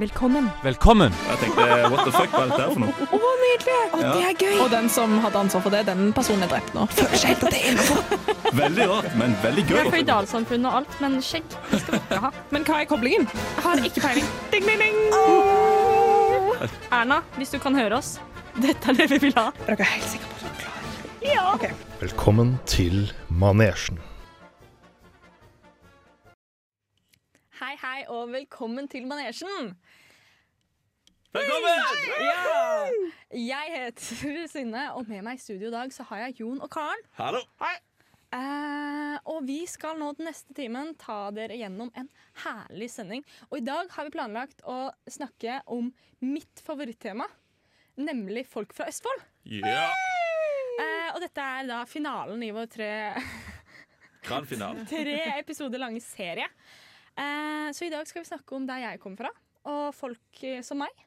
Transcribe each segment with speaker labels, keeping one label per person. Speaker 1: Velkommen.
Speaker 2: Velkommen!
Speaker 3: Jeg tenkte what the fuck, hva er dette her for noe?
Speaker 1: Å, nydelig! Å, Det er gøy.
Speaker 4: Og den som hadde ansvar for det, den personen er drept nå.
Speaker 1: Føler seg helt at det er innenfor.
Speaker 3: Veldig rart, men veldig gøy.
Speaker 5: Jeg er føydalsamfunn og alt, men skjegg det skal dere ha.
Speaker 4: Men hva er koblingen?
Speaker 5: Jeg har ikke peiling. Ding, ding, ding. Erna, hvis du kan høre oss, dette er det vi vil ha.
Speaker 4: Er dere helt sikre på at dere klarer det?
Speaker 6: Velkommen til manesjen.
Speaker 5: Hei, hei, og velkommen til Manesjen.
Speaker 3: Velkommen!
Speaker 5: Jeg heter Synne, og med meg i studio i dag så har jeg Jon og Karen.
Speaker 3: Hallo.
Speaker 5: Eh, og vi skal nå den neste timen ta dere gjennom en herlig sending. Og i dag har vi planlagt å snakke om mitt favorittema, nemlig folk fra Østfold.
Speaker 3: Ja,
Speaker 5: Eh, og dette er da finalen i vår tre,
Speaker 3: grand finale.
Speaker 5: tre episoder lange serie. Eh, så i dag skal vi snakke om der jeg kommer fra, og folk eh, som meg.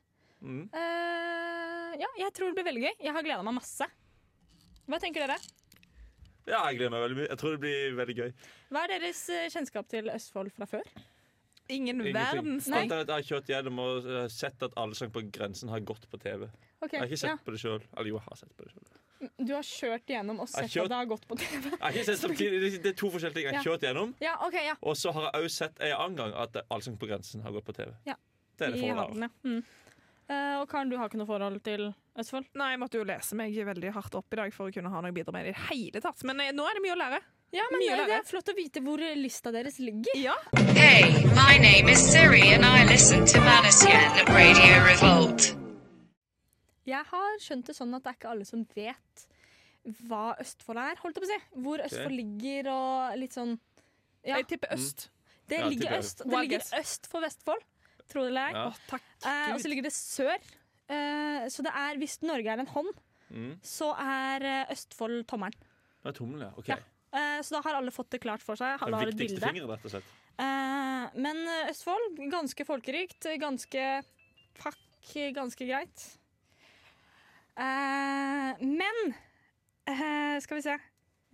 Speaker 3: Mm.
Speaker 5: Eh, ja, jeg tror det blir veldig gøy. Jeg har gleda meg masse. Hva tenker dere?
Speaker 3: Ja, jeg gleder meg veldig mye. Jeg tror det blir veldig gøy.
Speaker 5: Hva er deres eh, kjennskap til Østfold fra før?
Speaker 4: Ingen
Speaker 3: Ingenting.
Speaker 4: verdens
Speaker 3: Annet enn at Jeg har kjørt gjennom og eh, sett at alle sang på grensen har gått på TV.
Speaker 5: Ok,
Speaker 3: Jeg har ikke
Speaker 5: ja.
Speaker 3: sett på det sjøl. Eller jo, jeg har sett på det sjøl.
Speaker 5: Du har kjørt gjennom og
Speaker 3: Jeg
Speaker 5: sett at
Speaker 3: kjørt-
Speaker 5: det har gått på TV?
Speaker 3: Jeg har ikke sett samtidig. Det er- Det er to forskjellige ting. Jeg har
Speaker 5: Ja.
Speaker 3: kjørt gjennom,
Speaker 5: Ja, ok, ja.
Speaker 3: og så har jeg også sett en annen gang at alle sang på grensen har gått på TV.
Speaker 5: Ja.
Speaker 3: Det er det
Speaker 5: Vi har
Speaker 3: forholdet.
Speaker 5: den, ja. Mm. Eh, og Karen, du har ikke noe forhold til Østfold?
Speaker 4: Nei, jeg måtte jo lese meg veldig hardt opp i dag for å kunne ha noe å bidra med i det hele tatt. Men eh, nå er det mye å lære.
Speaker 5: Ja,
Speaker 4: men
Speaker 5: Mye
Speaker 4: det-
Speaker 5: det
Speaker 4: det
Speaker 5: er flott å vite hvor lista deres ligger.
Speaker 4: Ja.
Speaker 7: Hey, my name is Siri and I listen to Manasian Radio Revolt.
Speaker 5: Jeg har skjønt det sånn at det er ikke alle som vet hva Østfold er, holdt jeg på å si. Hvor Østfold ligger og litt sånn Ja,
Speaker 4: Jeg tipper øst.
Speaker 5: det
Speaker 3: Ja,
Speaker 5: ligger
Speaker 3: tipper jeg.
Speaker 5: øst. Det
Speaker 4: Wild
Speaker 5: ligger
Speaker 4: guess.
Speaker 5: øst for Vestfold, tro det eller ei.
Speaker 3: Ja.
Speaker 4: Å, takk
Speaker 5: Eh, og så
Speaker 4: Gud.
Speaker 5: ligger det sør. Eh, så det er, hvis Norge er en hånd,
Speaker 3: Mm.
Speaker 5: så er eh, Østfold tommelen.
Speaker 3: Det er tommelen, ja. OK.
Speaker 5: Ja. Eh, så da har alle fått det klart for seg. Alle
Speaker 3: Den
Speaker 5: har et
Speaker 3: viktigste
Speaker 5: bilde.
Speaker 3: fingeren, rett og slett.
Speaker 5: Eh, men eh, Østfold, ganske folkerikt. Ganske pakk, ganske greit. Eh, men eh, Skal vi se.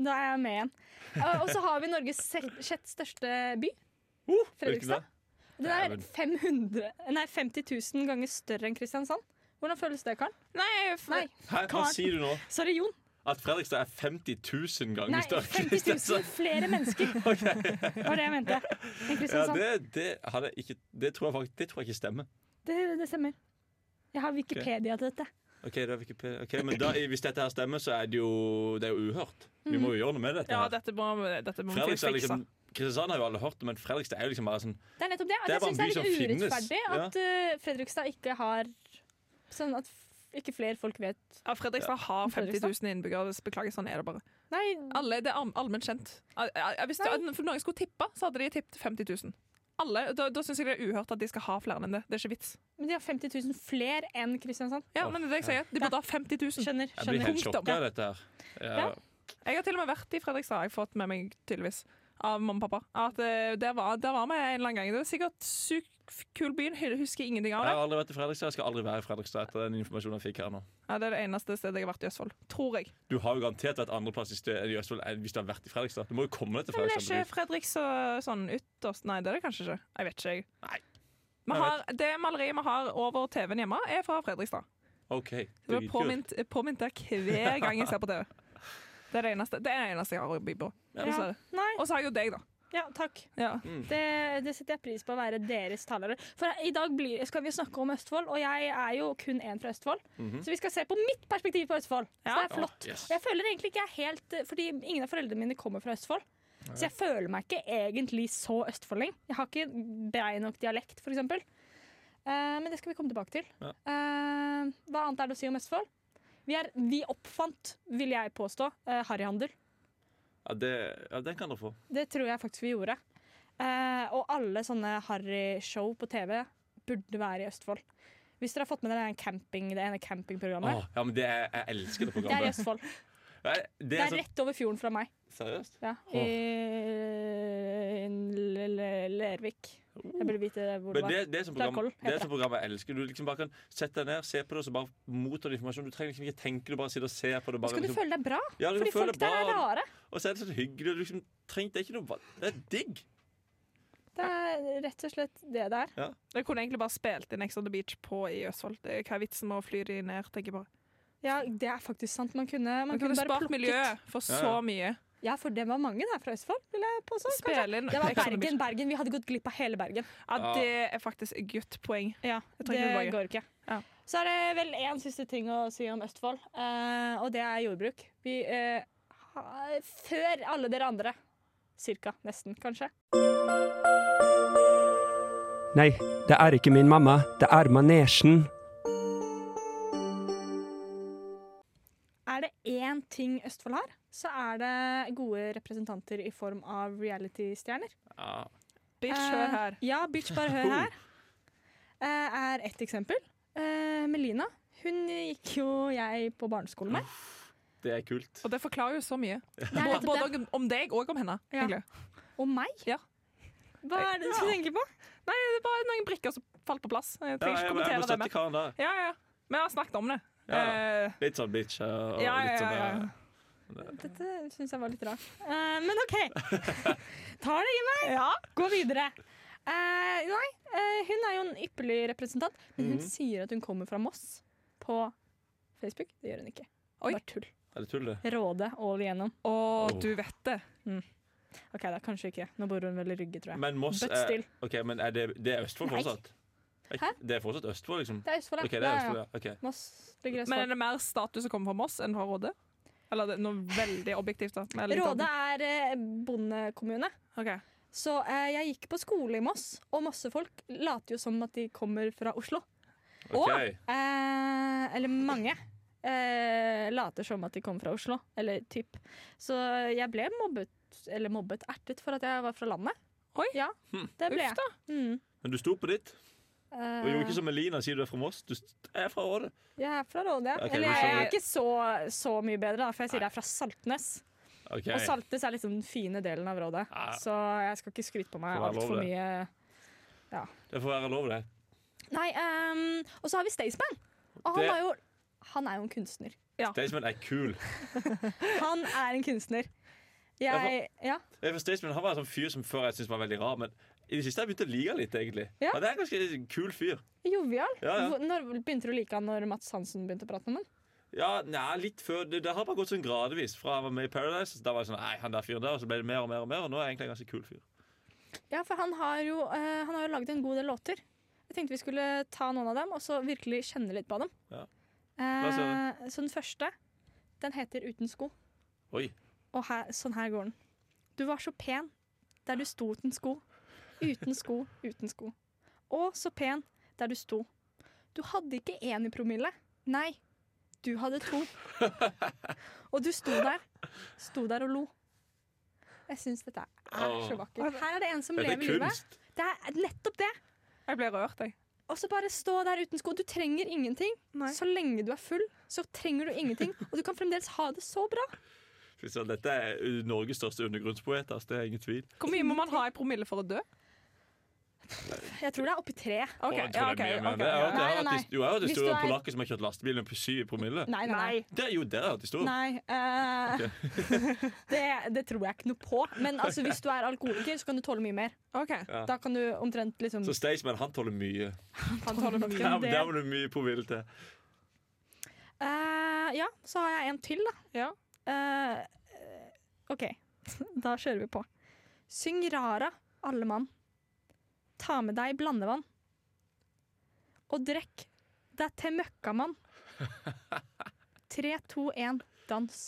Speaker 5: Da er jeg med igjen. Eh, og så har vi Norges se- sjette største by.
Speaker 3: Uh,
Speaker 5: Fredrikstad? Den er
Speaker 3: Dæven.
Speaker 5: 500, nei, 50 000 ganger større enn Kristiansand. Hvordan føles det, Karen?
Speaker 4: Nei, for...
Speaker 5: Nei,
Speaker 3: Hæ, hva
Speaker 5: Karen.
Speaker 3: sier du nå?
Speaker 5: sorry, Jon.
Speaker 3: At Fredrikstad er 50 000 ganger
Speaker 5: Nei,
Speaker 3: større?
Speaker 5: 50 000 flere mennesker var det jeg mente. Enn
Speaker 3: Ja,
Speaker 5: Kristiansand.
Speaker 3: det, det, hadde jeg ikke, det tror jeg faktisk det tror jeg ikke stemmer.
Speaker 5: Det, det stemmer. Jeg har Wikipedia til dette.
Speaker 3: Ok, det er Wikipedia. Ok, Men da, hvis dette her stemmer, så er det jo, det er jo uhørt. Vi
Speaker 5: Mm.
Speaker 3: må jo gjøre noe med dette.
Speaker 4: Ja,
Speaker 3: her
Speaker 4: dette må, dette må vi
Speaker 3: Fredrikstad er
Speaker 4: fikse.
Speaker 3: liksom Kristiansand har jo alle hørt det, men Fredrikstad er jo liksom bare sånn
Speaker 5: Det er nettopp det.
Speaker 3: Det er
Speaker 5: jeg
Speaker 3: bare en
Speaker 5: syns det
Speaker 3: by
Speaker 5: er
Speaker 3: som
Speaker 5: litt
Speaker 3: finnes.
Speaker 5: urettferdig at eh, Fredrikstad ikke har Sånn at f- ikke flere folk vet
Speaker 4: Ja, Fredrikstad har 50 000 innbyggere. så Beklager, sånn er det bare.
Speaker 5: Nei,
Speaker 4: Alle, det er all- allment kjent. Al- al- Hvis det- for noen skulle tippe, så hadde de tippet 50 000. Alle, da da syns jeg det er uhørt at de skal ha flere enn det. Det er ikke vits.
Speaker 5: men de har 50 000 flere enn Kristiansand.
Speaker 4: Ja, men det er det jeg sier. De burde ha 50 000.
Speaker 5: Skjønner.
Speaker 3: Mm. Jeg blir
Speaker 5: skjønner.
Speaker 3: helt sjokka av dette her. Ja.
Speaker 5: Ja.
Speaker 4: Jeg har til og med vært i Fredrikstad, har jeg fått med meg tydeligvis. Av mamma og pappa. At eh, Der var der var vi en eller annen gang. Det var sikkert sykt kul by. Jeg Husker ingenting av
Speaker 3: Jeg
Speaker 4: det.
Speaker 3: har aldri vært i Fredrikstad. Jeg skal aldri være i Fredrikstad etter den informasjonen jeg fikk her nå.
Speaker 4: Ja, det er det eneste stedet jeg har vært i Østfold. Tror jeg.
Speaker 3: Du har jo garantert vært andreplass i sted enn i Østfold enn hvis du har vært i Fredrikstad. Du må jo komme deg til
Speaker 4: Men det er
Speaker 3: Fredrikstad.
Speaker 4: ikke Fredrik så, sånn ytterst Nei, det er det kanskje ikke. Jeg vet ikke, jeg.
Speaker 3: Nei.
Speaker 4: Vi
Speaker 3: Jeg
Speaker 4: har, det maleriet vi har over TV-en hjemme, er fra Fredrikstad.
Speaker 3: OK.
Speaker 4: Det
Speaker 3: dritkult.
Speaker 4: blir påminnet påminnet der hver gang jeg ser på TV. Det er det eneste, det er det eneste jeg har å by på. dessverre.
Speaker 5: Nei,
Speaker 4: Og så har jeg jo deg, da.
Speaker 5: ja, takk.
Speaker 4: Ja.
Speaker 5: Det, det setter jeg pris på å være deres talere. For i dag blir, skal vi jo snakke om Østfold, og jeg er jo kun én fra Østfold.
Speaker 3: Mm.
Speaker 5: Så vi skal se på mitt perspektiv på Østfold. Så det er flott.
Speaker 3: Ah, Mhm. yes.
Speaker 5: Og jeg føler egentlig ikke jeg er helt eh, Fordi ingen av foreldrene mine kommer fra Østfold. Så jeg føler meg ikke egentlig så østfolding. Jeg har ikke brei nok dialekt, f.eks. Uh, men det skal vi komme tilbake til.
Speaker 3: Ja.
Speaker 5: Eh, hva annet er det å si om Østfold? Vi, er, vi oppfant, vil jeg påstå, eh, harryhandel.
Speaker 3: Ja, det, ja, den kan dere få.
Speaker 5: Det tror jeg faktisk vi gjorde. Eh, og alle sånne harry-show på TV burde være i Østfold. Hvis dere har fått med dere den camping, det ene campingprogrammet.
Speaker 3: Åh, Ah. ja, men det er, jeg elsker det
Speaker 5: Det er i
Speaker 3: programmet.
Speaker 5: Østfold.
Speaker 3: Det er,
Speaker 5: Det er rett over fjorden fra meg.
Speaker 3: sånn, seriøst?
Speaker 5: Ja,
Speaker 3: Åh.
Speaker 5: I L- L- Lervik. Jeg burde vite hvor det
Speaker 3: Uh. Men
Speaker 5: var.
Speaker 3: det, det er sånn
Speaker 5: Klar,
Speaker 3: program,
Speaker 5: koll,
Speaker 3: det er
Speaker 5: heter
Speaker 3: sånn program jeg elsker. Du liksom bare kan sette deg ned, se på det, og så bare mottar du informasjon. Du trenger liksom ikke tenke, du bare sitter og ser på det.
Speaker 5: Nå
Speaker 3: Bare,
Speaker 5: skal du
Speaker 3: liksom,
Speaker 5: føle deg bra,
Speaker 3: ja, du
Speaker 5: fordi
Speaker 3: føler
Speaker 5: folk der er
Speaker 3: bare-
Speaker 5: rare.
Speaker 3: Og så er det sånn hyggelig. og Du liksom, trenger, det er ikke noe va- Det er digg.
Speaker 5: Det er rett og slett det det er.
Speaker 4: Jeg kunne egentlig bare spilt inn Ex on the Beach på i Østfold. Det er Hva er vitsen med å fly de ned, tenker jeg bare.
Speaker 5: Ja, det er faktisk sant. Man kunne, man
Speaker 4: Man
Speaker 5: kunne
Speaker 4: kunne
Speaker 5: bare
Speaker 4: spart
Speaker 5: plukket
Speaker 4: miljøet for
Speaker 3: Ja,
Speaker 4: så
Speaker 3: ja.
Speaker 4: mye.
Speaker 5: Ja, for det var mange der fra Østfold, vil jeg påstå. kanskje.
Speaker 4: Spille inn
Speaker 5: Det var
Speaker 4: Ex on the
Speaker 5: Bergen,
Speaker 4: Beach.
Speaker 5: Bergen. Vi hadde gått glipp av hele Bergen.
Speaker 4: Ja, det er faktisk et guttpoeng.
Speaker 5: Ja,
Speaker 4: Jeg
Speaker 5: det
Speaker 4: trenger ikke tilbake.
Speaker 5: går ikke.
Speaker 4: Ja.
Speaker 5: Så er det vel én siste ting å si om Østfold, eh, og det er jordbruk. Vi eh, har, Før alle dere andre. Cirka. Nesten, kanskje.
Speaker 2: Nei, det er ikke min mamma, det er manesjen.
Speaker 5: Er det én ting Østfold har, så er det gode representanter i form av reality-stjerner.
Speaker 3: Ja.
Speaker 4: Bitch, hør
Speaker 5: Eh,
Speaker 4: her.
Speaker 5: Ja, bitch, bare hør her. Eh, er ett eksempel. Eh, Melina. Hun gikk jo jeg på barneskolen med.
Speaker 3: Det er kult.
Speaker 4: Og det forklarer jo så mye.
Speaker 5: Det er
Speaker 4: Både,
Speaker 5: nettopp det.
Speaker 4: både om deg og om henne.
Speaker 5: Ja.
Speaker 4: egentlig.
Speaker 5: Og meg.
Speaker 4: Ja.
Speaker 5: Hva er det du skal tenke på?
Speaker 4: Nei, det er bare noen brikker som falt på plass. Jeg
Speaker 3: Ja, jeg,
Speaker 4: trenger ikke
Speaker 3: jeg må
Speaker 4: kommentere det
Speaker 3: støtte
Speaker 4: mer.
Speaker 3: karen der.
Speaker 4: Ja, ja. Vi har snakket om det.
Speaker 3: Ja, ja.
Speaker 4: Eh,
Speaker 3: Litt sånn bitch. Ja, og
Speaker 4: Ja, ja,
Speaker 3: litt sånn,
Speaker 4: ja, ja.
Speaker 3: eh,
Speaker 5: Dette syns jeg var litt rart. Eh, men OK. Ta det i meg. Gå videre. Eh, nei, eh, hun er jo en ypperlig representant, men hun
Speaker 3: Mhm.
Speaker 5: sier at hun kommer fra Moss på Facebook. Det gjør hun ikke.
Speaker 4: Oi.
Speaker 5: Bare tull.
Speaker 3: Er det tull, det?
Speaker 5: Råde all igjennom.
Speaker 4: Å,
Speaker 3: Oh.
Speaker 4: du vet det.
Speaker 5: OK, da kanskje ikke. Nå bor hun vel i Rygge, tror jeg.
Speaker 3: Men Moss
Speaker 5: But
Speaker 3: er,
Speaker 5: still.
Speaker 3: Ok, men er det, det er Østfold
Speaker 5: Nei.
Speaker 3: fortsatt? Er ikke- Det er fortsatt Østfold, liksom?
Speaker 5: Det er Østfold,
Speaker 3: Ok, det er Østfold, ja. Ok.
Speaker 5: Moss ligger i
Speaker 4: Men
Speaker 5: Østfold.
Speaker 4: er det mer status som kommer fra Moss enn fra Råde? Eller er det noe veldig objektivt? da? Eller litt
Speaker 5: Råde er eh, bondekommune.
Speaker 4: av- Ok.
Speaker 5: Så eh, jeg gikk på skole i Moss, og Mossefolk later jo som at de kommer fra Oslo.
Speaker 3: Ok.
Speaker 5: Eh, eller mange eh, later som at de kommer fra Oslo. Eller typ. Så jeg ble mobbet, eller mobbet, ertet for at jeg var fra landet.
Speaker 4: Oi.
Speaker 5: Ja,
Speaker 3: Hm.
Speaker 5: det ble
Speaker 4: Uff
Speaker 5: jeg.
Speaker 4: da.
Speaker 5: Mm.
Speaker 3: Men du sto på ditt, og gjorde
Speaker 5: Eh,
Speaker 3: ikke som Elina sier du er fra Moss. Du st- er fra Råde.
Speaker 5: jeg er fra Råde, ja.
Speaker 3: Ok,
Speaker 5: eller
Speaker 3: men
Speaker 5: jeg
Speaker 3: så-
Speaker 5: er ikke så, så mye bedre, da, for jeg sier jeg er fra Saltnes.
Speaker 3: Ok.
Speaker 5: Og Saltnes er liksom den fine delen av Rådet,
Speaker 3: Ja.
Speaker 5: så jeg skal ikke skryte på meg
Speaker 3: Får være lov,
Speaker 5: altfor
Speaker 3: det.
Speaker 5: mye.
Speaker 3: Det får være lov, det.
Speaker 5: Nei, ehm, og så har vi Staysman. Og han,
Speaker 3: Det-
Speaker 5: er jo, han er jo en kunstner.
Speaker 3: Staysman er kul.
Speaker 5: Han er en kunstner. Jeg, ja,
Speaker 3: Jeg for Staysman han var en sånn fyr som før jeg syntes var veldig rar, men i det siste har jeg begynt å like han litt, egentlig.
Speaker 5: Ja.
Speaker 3: Ja, det er en ganske kul fyr.
Speaker 5: Jovial.
Speaker 3: Ja, ja.
Speaker 5: Hvor- Når begynte du å like han når Mats Hansen begynte å prate med ham?
Speaker 3: Ja, nei, litt før Det, det har bare gått sånn gradvis. Fra han var med i Paradise, da var jeg sånn Nei, han der fyren der. Og så ble det mer og mer og mer, og nå er jeg egentlig en ganske kul fyr.
Speaker 5: Ja, for han har jo, eh, han har jo laget en god del låter. Jeg tenkte vi skulle ta noen av dem, og så virkelig kjenne litt på dem.
Speaker 3: Ja. oss gjøre
Speaker 5: Eh, så den første, den heter Uten sko.
Speaker 3: Oi.
Speaker 5: Og her, sånn her går den. Du var så pen der du sto uten sko. Uten sko, uten sko. Og så pen der du sto. Du hadde ikke én i promille. Nei, du hadde to. Og du sto der. Sto der og lo. Jeg syns dette er så vakkert. Her er det en som
Speaker 3: Dette
Speaker 5: lever
Speaker 3: er
Speaker 5: livet.
Speaker 3: kunst.
Speaker 5: Det er nettopp det.
Speaker 4: Jeg ble rørt, jeg.
Speaker 5: Og så bare stå der uten sko. Du trenger ingenting.
Speaker 4: Nei.
Speaker 5: Så lenge du er full, så trenger du ingenting. Og du kan fremdeles ha det så bra.
Speaker 3: Fy søren, Dette er uh, Norges største undergrunnspoet. ass, Det er ingen tvil.
Speaker 4: Hvor mye må man ha i promille for å dø?
Speaker 5: Jeg tror det er oppi tre.
Speaker 4: Ok,
Speaker 3: Å, jeg tror
Speaker 4: ja,
Speaker 3: det er
Speaker 4: ok,
Speaker 3: mye mer.
Speaker 4: ok,
Speaker 3: Det er jo-
Speaker 4: ja.
Speaker 3: det er
Speaker 5: Nei,
Speaker 3: jo
Speaker 5: nei,
Speaker 3: at- Jo, jeg har hørt
Speaker 5: Hvis
Speaker 3: historien
Speaker 5: du
Speaker 3: om
Speaker 5: er-
Speaker 3: polakker som har kjørt lastebilen på syv promille.
Speaker 5: Nei, nei, nei.
Speaker 3: Det er jo der jeg har hørt historien.
Speaker 5: Nei, eh, det, det tror jeg ikke noe på. Men altså, hvis du er alkoholiker, så kan du tåle mye mer.
Speaker 4: Ok.
Speaker 3: Ja.
Speaker 5: Da kan du omtrent liksom
Speaker 3: Så Staysman, han tåler mye.
Speaker 5: Han tåler nok
Speaker 3: Der,
Speaker 5: en del.
Speaker 3: der må du mye promille til.
Speaker 5: Eh, ja, så har jeg en til, da.
Speaker 4: Ja.
Speaker 5: Eh, eh, OK, da kjører vi på. Syng Rara, alle mann. Ta med deg blandevann. Og drekk deg til møkkamann. 3, 2, 1, dans.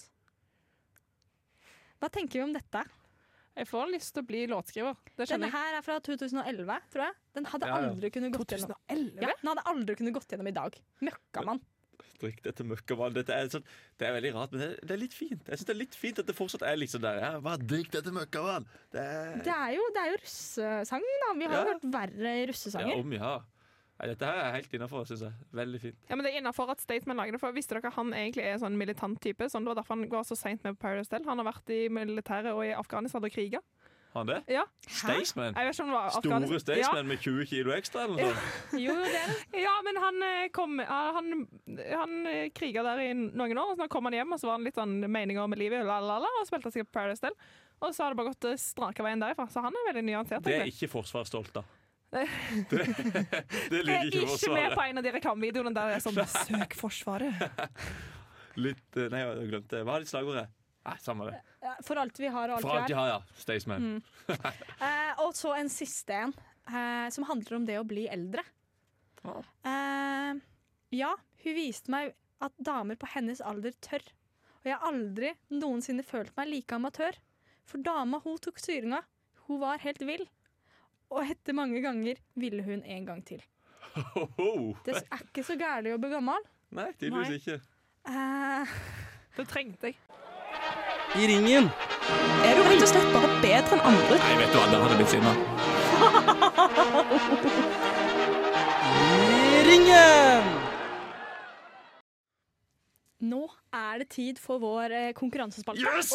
Speaker 5: Hva tenker vi om dette?
Speaker 4: Jeg får lyst til å bli låtskriver. Det
Speaker 5: Denne
Speaker 4: skjønner jeg.
Speaker 5: her er fra 2011, tror jeg. Den hadde
Speaker 3: Ja, ja.
Speaker 5: aldri kunnet gått gjennom. Ja, den hadde aldri kunnet gått gjennom i dag. Møkkamann.
Speaker 3: Drikk dette møkkavann. Dette er sånn, det er veldig rart, men det, det er litt fint. Jeg synes det er litt fint at det fortsatt er litt sånn der. Ja, bare drikk dette møkkavann. Det er
Speaker 5: Det er jo, det er jo russesang, da. Vi har jo
Speaker 3: Ja.
Speaker 5: hørt verre
Speaker 3: ja,
Speaker 5: russesanger.
Speaker 3: om ja. Nei, Dette her er helt innafor, syns jeg. Veldig fint.
Speaker 4: Ja, men det er innenfor at Statement lager det. For visste dere han egentlig er en sånn militant type? Sånn, det var derfor han går så seint med på Paradise Del. Han har vært i militæret og i Afghanistan og kriga.
Speaker 3: Har han det?
Speaker 4: Ja.
Speaker 3: Staysman?
Speaker 4: Jeg vet ikke om det var
Speaker 3: Store
Speaker 4: afghansk- Ja.
Speaker 3: Staysman med 20 kilo ekstra? eller noe sånt?
Speaker 5: Jo, det er det.
Speaker 4: Ja, men han eh, kom ja, Han, han eh, kriga der i noen år, og så kom han hjem, og så var han litt sånn meninger med livet, la, la, la, og spilte sikkert Paradise Del. Og så har det bare gått eh, strake veien derifra, så han er veldig nyansert.
Speaker 3: Det er
Speaker 4: egentlig.
Speaker 3: ikke Forsvaret stolt av. Det, det
Speaker 4: Jeg
Speaker 3: liker
Speaker 4: er
Speaker 3: ikke
Speaker 4: ikke med
Speaker 3: Forsvaret.
Speaker 4: på en av de reklamevideoene der det er sånn 'Søk Forsvaret'.
Speaker 3: Litt, eh, nei, jeg glemte Hva er det slagordet? Nei, samme det.
Speaker 5: Ja, For alt vi har og alt
Speaker 3: For alt Mm.
Speaker 5: vi
Speaker 3: de
Speaker 5: er.
Speaker 3: har, ja. Staysman.
Speaker 5: Eh, og så en siste en, eh, som handler om det å bli eldre. Eh, ja, hun viste meg at damer på hennes alder tør. Og jeg har aldri noensinne følt meg like amatør. For dama, hun tok styringa. Hun var helt vill. Og etter mange ganger ville hun en gang til.
Speaker 3: Ho, ho.
Speaker 5: Det er ikke så gærent å bli gammel.
Speaker 3: Nei, tydeligvis ikke.
Speaker 5: Eh,
Speaker 4: Det trengte jeg.
Speaker 8: I ringen.
Speaker 1: Er du rett og slett bare bedre enn andre?
Speaker 3: Nei, vet du hva, der hadde blitt sinna.
Speaker 8: I ringen!
Speaker 5: nå er det tid for vår eh, konkurransespalte.
Speaker 3: Yes!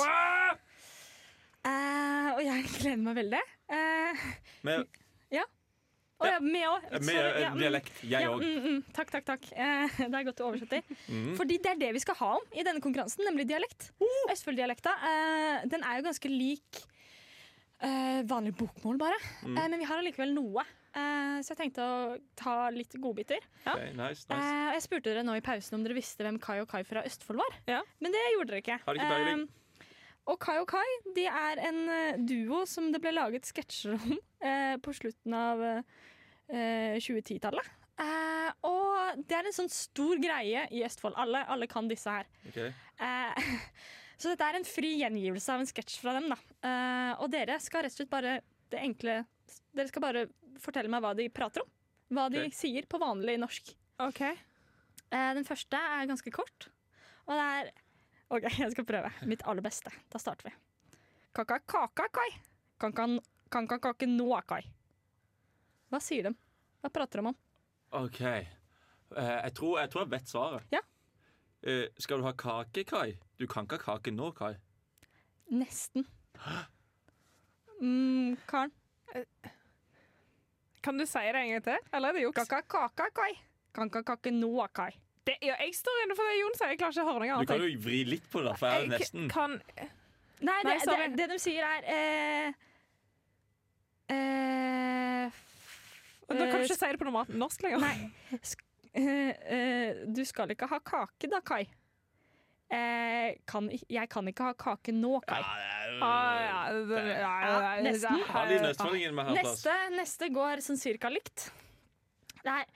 Speaker 5: Eh, og jeg gleder meg veldig. Eh,
Speaker 3: Med,
Speaker 5: og ja, vi òg.
Speaker 3: med eh, dialekt. Jeg
Speaker 5: ja,
Speaker 3: òg.
Speaker 5: mm, mm, takk, takk, takk. Eh, det er godt du oversetter.
Speaker 3: Mm.
Speaker 5: Fordi det er det vi skal ha om i denne konkurransen, nemlig dialekt.
Speaker 3: Uh!
Speaker 5: Østfolddialekta eh, den er jo ganske lik eh, vanlig bokmål, bare.
Speaker 3: Mm.
Speaker 5: Eh, men vi har allikevel noe. Eh, så jeg tenkte å ta litt godbiter.
Speaker 3: Ok, nice, nice.
Speaker 5: Eh, og jeg spurte dere nå i pausen om dere visste hvem Kai og Kai fra Østfold var.
Speaker 4: Ja.
Speaker 5: Men det gjorde dere ikke.
Speaker 3: Har ikke peiling.
Speaker 5: Eh, og Kai og Kai de er en eh, duo som det ble laget sketsjer om eh, på slutten av eh, eh, 2010-tallet. Eh, og det er en sånn stor greie i Østfold. Alle, alle kan disse her.
Speaker 3: Ok.
Speaker 5: Eh, så dette er en fri gjengivelse av en sketsj fra dem. da. Eh, og dere skal rett og slett bare det enkle, dere skal bare fortelle meg hva de prater om. Hva de
Speaker 3: Ok.
Speaker 5: sier på vanlig norsk.
Speaker 4: OK.
Speaker 5: Eh, Den første er ganske kort. Og det er OK, jeg skal prøve. Mitt aller beste. Da starter vi. Kaka kaka kai. Kankan kankan kake noa kai. Hva sier de? Hva prater de om?
Speaker 3: OK. Eh, jeg, tror, jeg tror jeg vet svaret.
Speaker 5: Ja.
Speaker 3: Eh, skal du ha kake, Kai? Du kan ikke ha kake nå, Kai.
Speaker 5: Nesten. Mm, Karen.
Speaker 4: Kan du si det en gang til? Eller er det juks?
Speaker 5: Kaka kaka kai. Kankan kake noa kai.
Speaker 4: Det, ja, jeg står inne for det Jon sier. Jeg klarer ikke å høre noe
Speaker 3: Du
Speaker 4: annet.
Speaker 3: kan jo vri litt på det, da, for jeg er
Speaker 5: Eh,
Speaker 4: Jeg
Speaker 3: nesten
Speaker 4: Kan,
Speaker 5: Nei, det,
Speaker 4: Nei,
Speaker 5: det,
Speaker 4: sorry.
Speaker 5: det de sier er eh, eh, f-
Speaker 4: nå kan du
Speaker 5: eh,
Speaker 4: ikke si det på normalt norsk lenger.
Speaker 5: Nei. Sk eh, eh, du skal ikke ha kake da, Kai. Eh, kan, i- jeg kan ikke ha kake nå, Kai.
Speaker 4: Ah, ja,
Speaker 3: Eh,
Speaker 4: det, ja,
Speaker 5: Ja, nesten.
Speaker 3: Ha de nøstfoldingene med her, plass.
Speaker 5: neste, neste går sånn cirka likt. Det er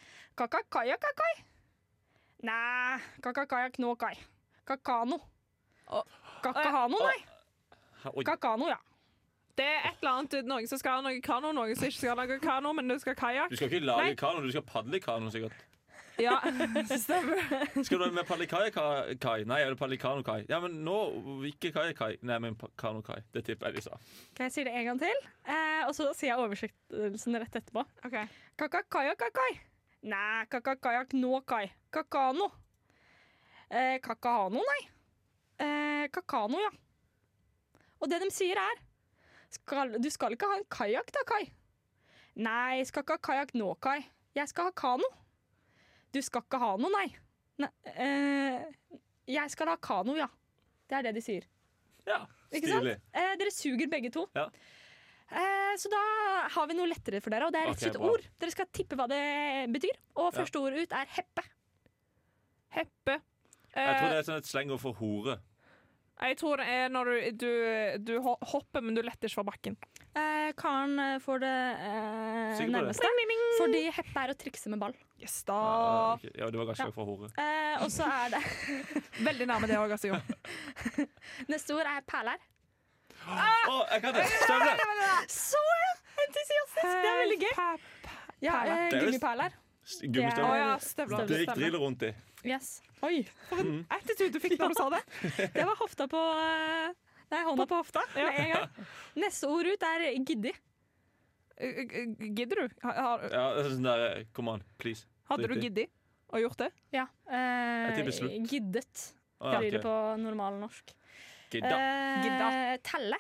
Speaker 5: kaka kaja kakai. Nei, kaka kaja knå kai. Kakano.
Speaker 4: Å,
Speaker 5: Kakahano, nei.
Speaker 3: Oi,
Speaker 5: Kakano, ja.
Speaker 4: Det er et eller annet Noen som skal ha noe kano, noen som ikke skal ha noe kano, men du skal kajakk.
Speaker 3: du skal ikke lage kano, du skal padle kano, sikkert.
Speaker 4: Ja, stemmer.
Speaker 3: Skal du ha med pallikaia-kai? Nei, er det pallikano-kai? Ja, men nå ikke kaia-kai. Nei, men pa- kano-kai. Det tipper jeg de sa.
Speaker 5: Ok, jeg sier det en gang til, eh, og så sier jeg oversettelsen rett etterpå.
Speaker 4: Ok.
Speaker 5: Kaka kaja kakai. Nei, kaka kajak nå kai. Kakano. Eh, kakahano, nei. Eh, kakano, ja. Og det de sier er skal, Du skal ikke ha en kajakk da, Kai. Nei, skal ikke ha kajakk nå, Kai. Jeg skal ha kano. Du skal ikke ha noe, nei. nei eh, jeg skal ha kano, ja. Det er det de sier.
Speaker 3: Ja,
Speaker 5: Ikke sant?
Speaker 3: Stilig.
Speaker 5: Eh, dere suger begge to.
Speaker 3: Ja.
Speaker 5: Eh, så da har vi noe lettere for dere, og det er rett og
Speaker 3: Ok,
Speaker 5: slett
Speaker 3: bra.
Speaker 5: ord. Dere skal tippe hva det betyr. Og
Speaker 3: Ja.
Speaker 5: første ord ut er heppe.
Speaker 4: Heppe.
Speaker 3: Jeg tror
Speaker 4: Eh,
Speaker 3: det er sånn et slengord for hore.
Speaker 4: jeg tror det er når du, du, du ho- hopper, men du letter ikke fra bakken.
Speaker 5: Eh, Karen eh, får det eh,
Speaker 3: Sikker på det?
Speaker 5: nærmeste. Fordi heppe er å trikse med ball.
Speaker 4: Yes,
Speaker 3: Ja,
Speaker 4: da.
Speaker 3: ok. ja, det var kanskje for hore.
Speaker 5: Eh, og så er det
Speaker 4: Veldig nærme det òg, altså. Jon.
Speaker 5: Neste ord er perler.
Speaker 3: Å, jeg kan det! Støvler!
Speaker 5: Så entusiastisk! Det er veldig gøy.
Speaker 4: Pep.
Speaker 5: Ja, eh,
Speaker 3: Det er jo-
Speaker 5: gummiperler.
Speaker 4: Å
Speaker 3: Gummistøvler.
Speaker 4: ja, støvler.
Speaker 3: Drikk
Speaker 4: Stemmer.
Speaker 3: driller rundt i.
Speaker 5: Yes. Oi,
Speaker 4: Attitude du fikk når du sa det.
Speaker 5: det var hofta på eh, Nei, hånda på hofta med en gang. Neste ord ut er giddig.
Speaker 4: Eh, eh, Gidder du? Ha- har-
Speaker 3: Ja, det er sånn der, eh, Come on, please.
Speaker 4: Hadde du giddet å gjort det?
Speaker 5: Ja. Eh,
Speaker 3: Jeg tipper slutt.
Speaker 5: giddet.
Speaker 3: Å, ja,
Speaker 5: Blir det
Speaker 3: ok.
Speaker 5: på normal norsk.
Speaker 3: Gidda.
Speaker 5: Eh,
Speaker 4: Gidda.
Speaker 5: Telle.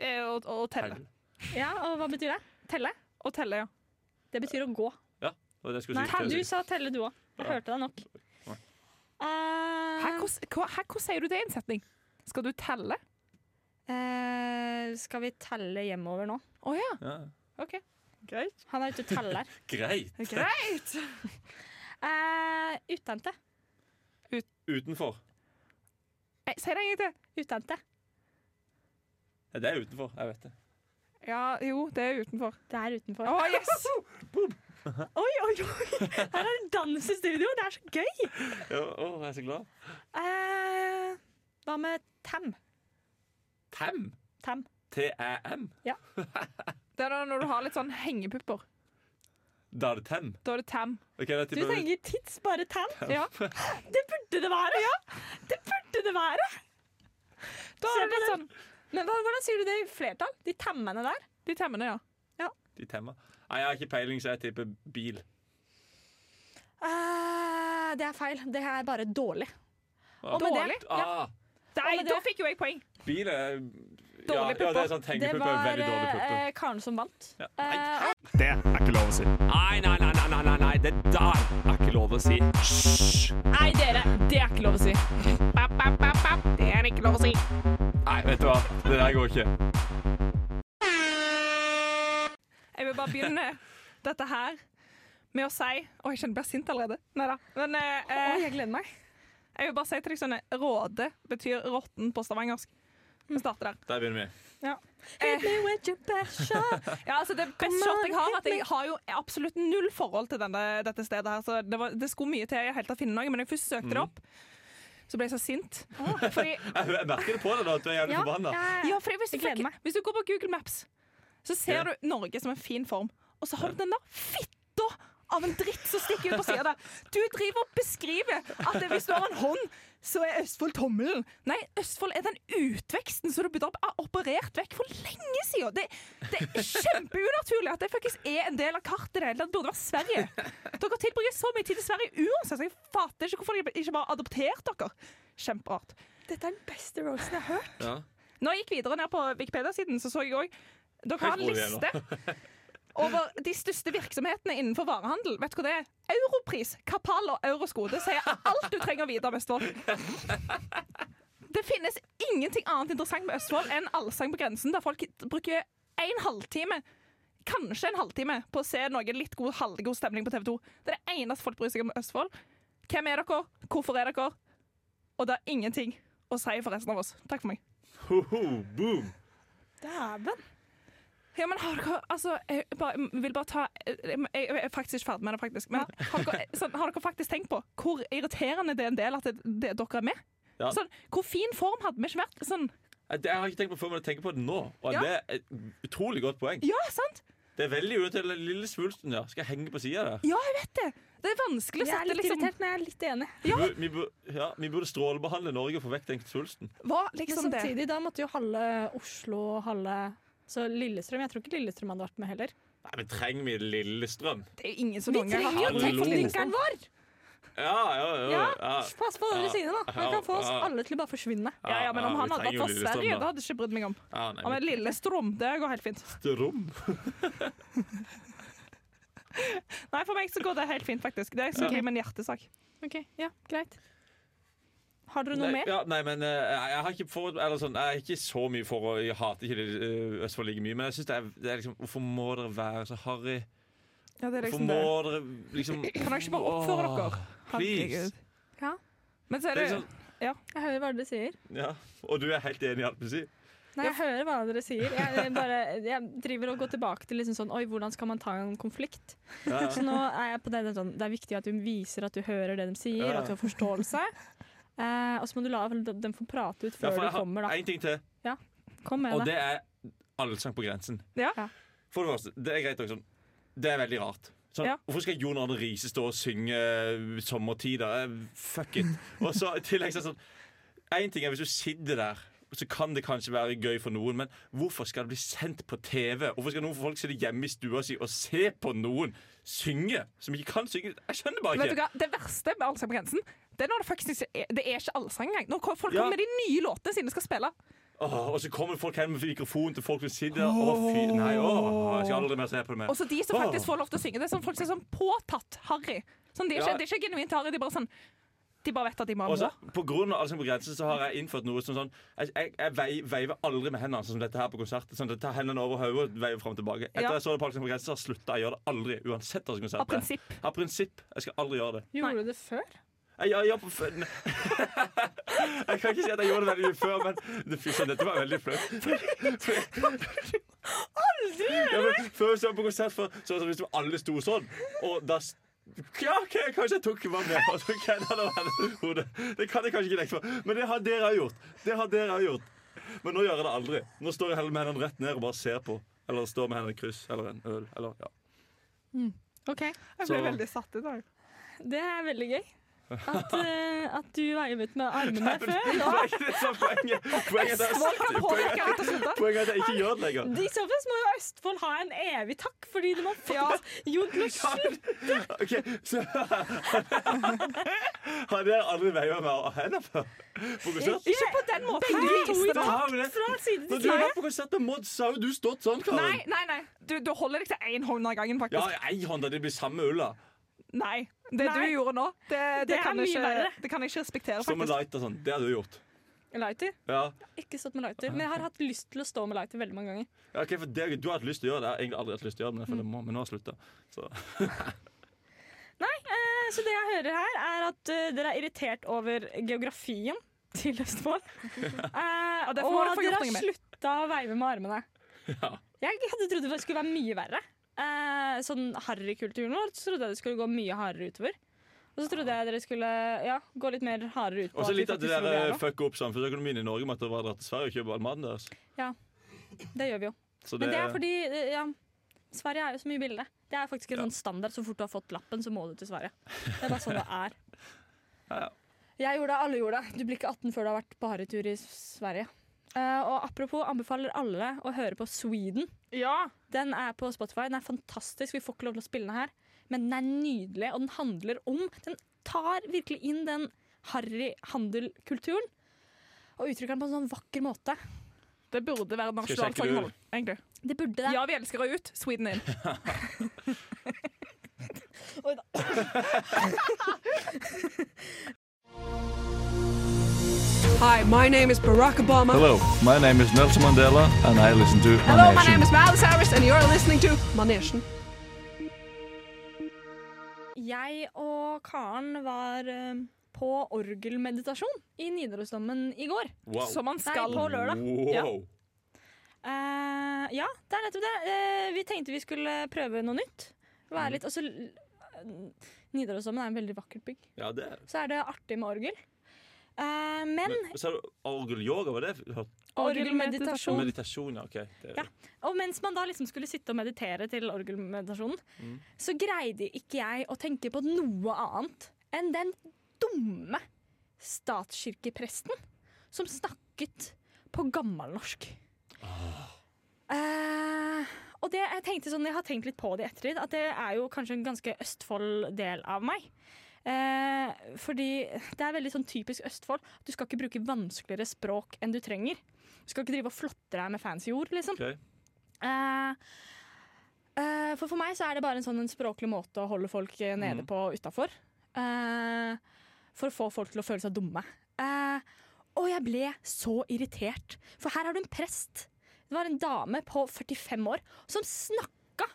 Speaker 4: eh, og, og, og telle.
Speaker 3: Tell.
Speaker 5: Ja, og hva betyr det? Telle?
Speaker 4: Og telle, ja.
Speaker 5: Det betyr å gå.
Speaker 3: Og det skulle
Speaker 5: Nei,
Speaker 3: jeg si-
Speaker 5: du
Speaker 3: til å si.
Speaker 5: sa telle du òg. Jeg
Speaker 3: Ja.
Speaker 5: hørte deg nok.
Speaker 3: Nei.
Speaker 5: Eh,
Speaker 4: Hæ, hvordan- hva- hæ, hvordan sier du det i en setning? Skal du telle?
Speaker 5: eh, skal vi telle hjemover nå?
Speaker 4: Å ja,
Speaker 3: Ja.
Speaker 4: OK. Greit.
Speaker 5: Han er ute og teller.
Speaker 3: Greit.
Speaker 4: Greit!
Speaker 5: uh, utente.
Speaker 3: Utenfor.
Speaker 4: Eh, Si det en gang til.
Speaker 5: Utente.
Speaker 3: Ja, det er utenfor. Jeg vet det.
Speaker 4: Ja, jo, det er utenfor.
Speaker 5: Det er utenfor.
Speaker 4: Å, yes!
Speaker 5: Oi, oi, oi! Her er det dans i studio! Det er så gøy!
Speaker 3: Ja, å, jeg er så glad.
Speaker 5: Eh, hva med tam?
Speaker 3: Tam.
Speaker 5: Tam.
Speaker 3: T-æ-m.
Speaker 4: Det er da når du har litt sånn hengepupper.
Speaker 3: Da er det tam.
Speaker 4: Da er det tam.
Speaker 3: Ok, det er
Speaker 5: Du
Speaker 3: typen-
Speaker 5: tenker tits, bare tam?
Speaker 4: Ja.
Speaker 5: Det burde det være! Det burde det være! Se
Speaker 4: Da
Speaker 5: på
Speaker 4: er det litt
Speaker 5: den.
Speaker 4: sånn
Speaker 5: Men hva- hvordan sier du det i flertall? De tammene der?
Speaker 4: De temmene, ja.
Speaker 3: De temmer. Nei, jeg har ikke peiling, så jeg tipper bil.
Speaker 5: Eh, det er feil. Det er bare dårlig.
Speaker 3: Ah.
Speaker 5: med
Speaker 4: Dårlig?
Speaker 3: Ah,
Speaker 4: Nei,
Speaker 5: med
Speaker 4: da
Speaker 5: det-
Speaker 4: fikk jo jeg poeng.
Speaker 3: bil er
Speaker 4: Dårlig
Speaker 3: Ja, ja, det
Speaker 4: pupper.
Speaker 3: er sånn
Speaker 5: Det
Speaker 3: hengepupper. er
Speaker 5: var
Speaker 3: Veldig dårlig pupper.
Speaker 5: eh, Karen som vant.
Speaker 3: Ja.
Speaker 5: Eh,
Speaker 2: Det er ikke lov å si. Nei, nei, nei, nei, nei, nei, nei. det der er ikke lov å si. Hysj!
Speaker 4: Nei, dere, det er ikke lov å si. Bap, bap, bap, bap. Det er ikke lov å si.
Speaker 3: Nei, vet du hva. Det der går ikke.
Speaker 4: Jeg vil bare begynne dette her med å si Å, jeg kjenner jeg blir sint allerede. Nei da. Men eh, eh,
Speaker 5: Oi, jeg gleder meg.
Speaker 4: jeg vil bare si til deg sånn Råde betyr råtten på stavangersk. Vi starter der.
Speaker 3: Der begynner vi.
Speaker 5: Hit me with your best shot.
Speaker 4: Ja, altså Det er best
Speaker 5: Come
Speaker 4: shot
Speaker 5: on,
Speaker 4: jeg har,
Speaker 5: hit
Speaker 4: at jeg
Speaker 5: me.
Speaker 4: har jo absolutt null forhold til denne, dette stedet. her Så Det, var, det skulle mye til jeg helt å finne noe, men da jeg først søkte det opp, så ble jeg så sint. Fordi,
Speaker 3: Jeg, jeg merker det på deg nå at du er jævlig
Speaker 5: Ja,
Speaker 3: forbanna.
Speaker 5: jeg-
Speaker 4: ja, fordi hvis, du
Speaker 5: Jeg gleder
Speaker 4: fikk-
Speaker 5: meg.
Speaker 4: hvis du går på Google Maps, så
Speaker 3: Ja.
Speaker 4: ser du Norge som en fin form, og så har du den der fitta av en dritt som stikker ut på sida der. Du driver og beskriver at det- hvis du har en hånd, så er Østfold tommelen. Nei, Østfold er den utveksten som du burde ha operert vekk for lenge siden. Det, det er kjempeunaturlig at det faktisk er en del av kartet i det hele tatt. Det burde være Sverige. Dere tilbringer så mye tid i Sverige uansett, så jeg fatter ikke hvorfor de ikke bare har adoptert dere. Kjemperart.
Speaker 5: Dette er den beste roasten jeg har hørt.
Speaker 3: Ja.
Speaker 4: Når jeg gikk videre ned på Wikipedia-siden, så så jeg òg Dere har en
Speaker 3: Hvor er det
Speaker 4: liste over de største virksomhetene innenfor varehandel. Vet du hva det er? Europris, Kapal og Eurosko. Det sier alt du trenger å vite om Østfold. Det finnes ingenting annet interessant med Østfold enn Allsang på grensen, der folk bruker en halvtime, kanskje en halvtime, på å se noe litt god, halvgod stemning på TV 2. Det er det eneste folk bryr seg om med Østfold. Hvem er dere? Hvorfor er dere? Og det er ingenting å si for resten av oss. Takk for meg.
Speaker 3: Ho-ho, boom.
Speaker 5: Dæven.
Speaker 4: Ja, men har dere Altså, jeg bare, vil bare ta jeg, jeg er faktisk ikke ferdig med det, faktisk. Men har dere, sånn, har dere faktisk tenkt på hvor irriterende det er en del at det, det, dere er med?
Speaker 3: Ja.
Speaker 4: Sånn, hvor fin form hadde vi ikke vært? Sånn,
Speaker 3: Eh, Det jeg har jeg ikke tenkt på før, men jeg tenker på det nå. Og
Speaker 4: Ja.
Speaker 3: det er et utrolig godt poeng.
Speaker 4: ja, sant?
Speaker 3: Det er veldig unaturlig. Den Lille svulsten der skal henge på sida der.
Speaker 4: Ja, jeg vet det! Det er vanskelig å
Speaker 5: Jeg er
Speaker 4: sette
Speaker 5: litt
Speaker 4: liksom,
Speaker 5: irritert, men jeg er litt enig.
Speaker 3: Vi bur- Vi, bur- ja, vi burde strålebehandle Norge og få vekk den svulsten.
Speaker 4: Hva
Speaker 5: Men
Speaker 4: liksom det?
Speaker 5: samtidig, da måtte jo halve Oslo og halve Så Lillestrøm Jeg tror ikke Lillestrøm hadde vært med heller.
Speaker 3: Nei, men trenger vi Lillestrøm?
Speaker 4: Det er jo ingen som noen gang har
Speaker 3: jo
Speaker 4: hatt-
Speaker 3: Hallo. teknikken
Speaker 5: vår!
Speaker 3: Ja, ja, ja. ja.
Speaker 5: Ja, Pass på hva dere
Speaker 3: Ja.
Speaker 5: sier, da. Han kan få oss
Speaker 3: Ja.
Speaker 5: alle til å bare forsvinne.
Speaker 4: Ja, ja, men om han
Speaker 3: vi
Speaker 4: hadde
Speaker 3: trenger
Speaker 4: vært
Speaker 3: jo
Speaker 4: fra
Speaker 3: Lillestrøm,
Speaker 4: Sverige,
Speaker 3: da.
Speaker 4: da hadde jeg ikke brydd meg om.
Speaker 3: Ja, nei,
Speaker 4: Om en
Speaker 3: men
Speaker 4: lille strom, det går helt fint.
Speaker 3: Lillestrøm?
Speaker 4: Nei, for meg så går det helt fint, faktisk. Det er som
Speaker 5: Ja.
Speaker 4: ja. min hjertesak.
Speaker 5: Ok, ja, greit. Har dere noe
Speaker 3: nei,
Speaker 5: mer?
Speaker 3: ja, nei, men eh, jeg, jeg har ikke for, eller sånn, jeg er ikke så mye for å Jeg hater ikke eh, Østfold like mye, men jeg synes det er, det er liksom Hvorfor må dere være så harry?
Speaker 4: Ja, det er
Speaker 3: Hvorfor
Speaker 4: liksom det.
Speaker 3: må dere liksom
Speaker 4: Kan dere ikke bare oppføre
Speaker 3: Åh,
Speaker 4: dere?
Speaker 3: Please.
Speaker 4: Herregud.
Speaker 5: Ja.
Speaker 4: Men så
Speaker 3: Det er
Speaker 4: er det,
Speaker 3: liksom,
Speaker 5: Jeg hører hva dere sier.
Speaker 3: ja. Og du er helt enig i alt du sier?
Speaker 5: Nei, jeg hører hva dere sier. Jeg, bare, jeg driver og går tilbake til liksom sånn Oi, hvordan skal man ta en konflikt?
Speaker 3: Ja,
Speaker 5: Så nå er jeg på det, det, er sånn, det er viktig at du viser at du hører det de sier,
Speaker 3: Ja.
Speaker 5: at du har forståelse. Eh, og så må du la dem få prate ut
Speaker 3: Ja,
Speaker 5: før
Speaker 3: for
Speaker 5: du
Speaker 3: jeg
Speaker 5: kommer,
Speaker 3: har
Speaker 5: da.
Speaker 3: én ting til,
Speaker 5: Kom med
Speaker 3: og
Speaker 5: det.
Speaker 3: det er allsang på grensen.
Speaker 4: Ja.
Speaker 5: Ja.
Speaker 3: For det første, det er greit nok sånn Det er veldig rart. Sånn,
Speaker 4: Ja.
Speaker 3: Hvorfor skal Jon Arne Riise stå og synge eh, 'Sommertider'? Eh, Fuck it. Og så i tillegg så er det sånn Én ting er hvis du sitter der, så kan det kanskje være gøy for noen, men hvorfor skal det bli sendt på TV? Hvorfor skal noen folk sitte hjemme i stua si og se på noen synge som ikke kan synge? Jeg skjønner bare
Speaker 4: Vet du
Speaker 3: ikke.
Speaker 4: hva, Det verste med Allsang på grensen Det er når det faktisk ikke er, det er ikke allsang engang. Når folk
Speaker 3: Ja.
Speaker 4: kommer med de nye låtene sine skal spille.
Speaker 3: Åh, og så kommer folk hen med mikrofonen til folk som sitter der. Å, fy, nei, åh, jeg skal aldri mer se på det mer.
Speaker 4: Og så de som faktisk
Speaker 3: Åh.
Speaker 4: får lov til å synge. Det er sånn folk som er sånn påtatt harry. Sånn, det, er ikke,
Speaker 3: Ja.
Speaker 4: det er ikke genuint harry. De bare sånn De bare vet at de må
Speaker 3: Og
Speaker 4: ha
Speaker 3: så,
Speaker 4: noe.
Speaker 3: på grunn av Allsang på grensen så har jeg innført noe som sånn Jeg, jeg, jeg vei- veiver aldri med hendene sånn som dette her på konsert. Sånn, jeg tar hendene over hodet og veiver fram og tilbake. Etter
Speaker 4: Ja.
Speaker 3: jeg så det på Allsang på grensen, så har jeg slutta. Jeg gjør det aldri. Uansett hvilken konsert
Speaker 4: Av
Speaker 3: det er.
Speaker 4: prinsipp.
Speaker 3: Av prinsipp. Jeg skal aldri gjøre det.
Speaker 5: Gjorde du det før?
Speaker 3: Jeg, jeg, jeg, jeg, jeg kan ikke si at jeg gjorde det veldig mye før, men det, fy søren, dette var veldig flaut. Ja, men før vi så på konsert, for, så var det sånn hvis alle sto sånn, og da s- ja, ok, Kanskje jeg tok hva med og så kødda det med henne i hodet. Det kan jeg kanskje ikke dekke for. Men det har dere også gjort. Det har dere også gjort. Men nå gjør jeg det aldri. Nå står jeg heller med hendene rett ned og bare ser på. Eller står med hendene i kryss eller en øl. Eller, ja.
Speaker 5: Ok.
Speaker 4: Jeg
Speaker 3: ble Så- veldig
Speaker 4: satt i dag.
Speaker 5: Det er veldig gøy. At, eh, at du veivet med armene før.
Speaker 3: Det var ikke det som var poenget. Poenget er
Speaker 4: Folk kan
Speaker 3: poenget-
Speaker 4: påvirke rett og slett. da.
Speaker 3: poenget er at jeg ikke gjør det lenger.
Speaker 5: I så fall så må jo Østfold ha en evig takk, fordi det var faktisk Jo, men slutt!
Speaker 3: Ok, så Har dere aldri veiva med hender før? På konsert?
Speaker 4: Ikke på den måten.
Speaker 5: Begge
Speaker 4: Du
Speaker 5: to
Speaker 4: viste
Speaker 5: i
Speaker 4: det.
Speaker 3: Da har vi det.
Speaker 5: Fra side
Speaker 3: Når
Speaker 5: til
Speaker 3: du
Speaker 5: side.
Speaker 3: var på konsert med Mods, så har jo du stått sånn,
Speaker 4: Nei,
Speaker 3: Karen.
Speaker 4: nei, nei. Du, du holder deg til én hånd av gangen,
Speaker 3: Ja,
Speaker 4: faktisk.
Speaker 3: ei hånd, da, det blir samme ulla.
Speaker 4: Nei. Det
Speaker 5: Nei.
Speaker 4: du gjorde nå, det, det,
Speaker 5: er
Speaker 4: kan,
Speaker 5: mye
Speaker 4: jeg ikke,
Speaker 5: verre.
Speaker 4: det kan jeg ikke respektere,
Speaker 3: Som en
Speaker 4: faktisk.
Speaker 3: lighter sånn. Det hadde du gjort.
Speaker 5: Lighter.
Speaker 3: Ja.
Speaker 5: Ikke stått med
Speaker 4: Ah,
Speaker 5: lighter, men jeg har hatt lyst til å stå med lighter veldig mange ganger.
Speaker 3: Ja, ok, for det, du har hatt lyst til å gjøre det. Jeg har egentlig aldri hatt lyst til å gjøre det, men jeg føler jeg må, men nå har jeg slutta. Så.
Speaker 5: Eh, Så det jeg hører her, er at eh, dere er irritert over geografien til Østfold. Eh,
Speaker 4: det får
Speaker 5: og
Speaker 4: man få
Speaker 5: dere
Speaker 4: gjort noe
Speaker 5: har
Speaker 4: med.
Speaker 5: slutta å veive med armene.
Speaker 3: Ja.
Speaker 5: Jeg hadde trodd det skulle være mye verre. Eh, sånn harrykulturen vår så trodde jeg det skulle gå mye hardere utover. Og så trodde jeg dere skulle ja, gå litt mer hardere ut på
Speaker 3: Og så
Speaker 5: vi
Speaker 3: litt at det
Speaker 5: faktisk gjør
Speaker 4: eh,
Speaker 3: der eh,
Speaker 5: nå.
Speaker 3: fucka opp samfunnsøkonomien i Norge med at det var dratt til Sverige og kjøpe all maten deres.
Speaker 5: Det gjør vi jo.
Speaker 3: Så
Speaker 5: Men det er fordi eh, ja, Sverige er jo så mye billigere. Det er faktisk en
Speaker 3: Ja.
Speaker 5: sånn standard. Så fort du har fått lappen, så må du til Sverige. Det er bare sånn det er.
Speaker 3: Ja, ja.
Speaker 5: Jeg gjorde det, alle gjorde det. Du blir ikke 18 før du har vært på harrytur i Sverige. Eh, og apropos, anbefaler alle å høre på Sweden.
Speaker 4: Ja.
Speaker 5: Den er på Spotify. Den er fantastisk. Vi får ikke lov til å spille den her, men den er nydelig, og den handler om Den tar virkelig inn den harry-handel-kulturen. Og uttrykker den på en sånn vakker måte.
Speaker 4: Det burde være
Speaker 3: jeg sjekke det
Speaker 4: nasjonalsangen,
Speaker 3: ut?
Speaker 4: egentlig.
Speaker 5: Det burde det.
Speaker 4: Ja, vi elsker å ut. Sweden in.
Speaker 9: Hi, my name is Barack Obama.
Speaker 3: Hello, my name is Nelson Mandela, and I listen to
Speaker 9: Hello, my name is Miles Harris, and you're listening to Manesjen.
Speaker 5: Jeg og Karen var eh, på orgelmeditasjon i Nidarosdommen i går.
Speaker 3: Wow.
Speaker 4: Som man
Speaker 5: Nei,
Speaker 4: skal.
Speaker 5: på lørdag.
Speaker 4: Ja.
Speaker 3: Wow.
Speaker 5: Eh, ja, det er nettopp det. Eh, vi tenkte vi skulle prøve noe nytt. Være litt, og så, Nidarosdommen er en veldig vakkert bygg.
Speaker 3: Ja, det er
Speaker 5: Så er det artig med orgel. Eh, men
Speaker 3: Sa du orgelyoga? Var det
Speaker 5: orgelmeditasjon
Speaker 3: meditasjon? Ja, OK. Det er
Speaker 5: Mm. Ja. Og mens man da liksom skulle sitte og meditere til orgelmeditasjonen,
Speaker 3: Mm.
Speaker 5: så greide ikke jeg å tenke på noe annet enn den dumme statskirkepresten som snakket på gammelnorsk. Eh, og det jeg tenkte sånn, jeg har tenkt litt på det i ettertid, at det er jo kanskje en ganske Østfold-del av meg. Eh, fordi det er veldig sånn typisk Østfold. at Du skal ikke bruke vanskeligere språk enn du trenger. Du skal ikke drive og flotte deg med fancy ord, liksom.
Speaker 3: Ok.
Speaker 5: Eh, eh, for for meg så er det bare en sånn en språklig måte å holde folk eh, nede på utafor. for å få folk til å føle seg dumme. Eh, og jeg ble så irritert, for her har du en prest. Det var en dame på 45 år som snakka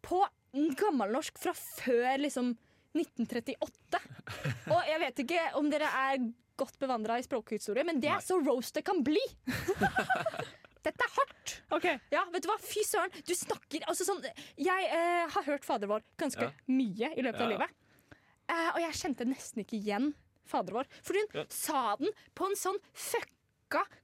Speaker 5: på gammelnorsk fra før liksom 1938. Og jeg vet ikke om dere er godt bevandra i språkhistorie, men det er så roast det kan bli! Dette er hardt! Ja, vet du hva? Fy søren, du snakker altså sånn, Jeg eh, har hørt fader vår ganske
Speaker 3: Ja.
Speaker 5: mye i løpet av
Speaker 3: Ja.
Speaker 5: livet. Eh, og jeg kjente nesten ikke igjen fader vår. For hun
Speaker 3: Ja.
Speaker 5: sa den på en sånn fucka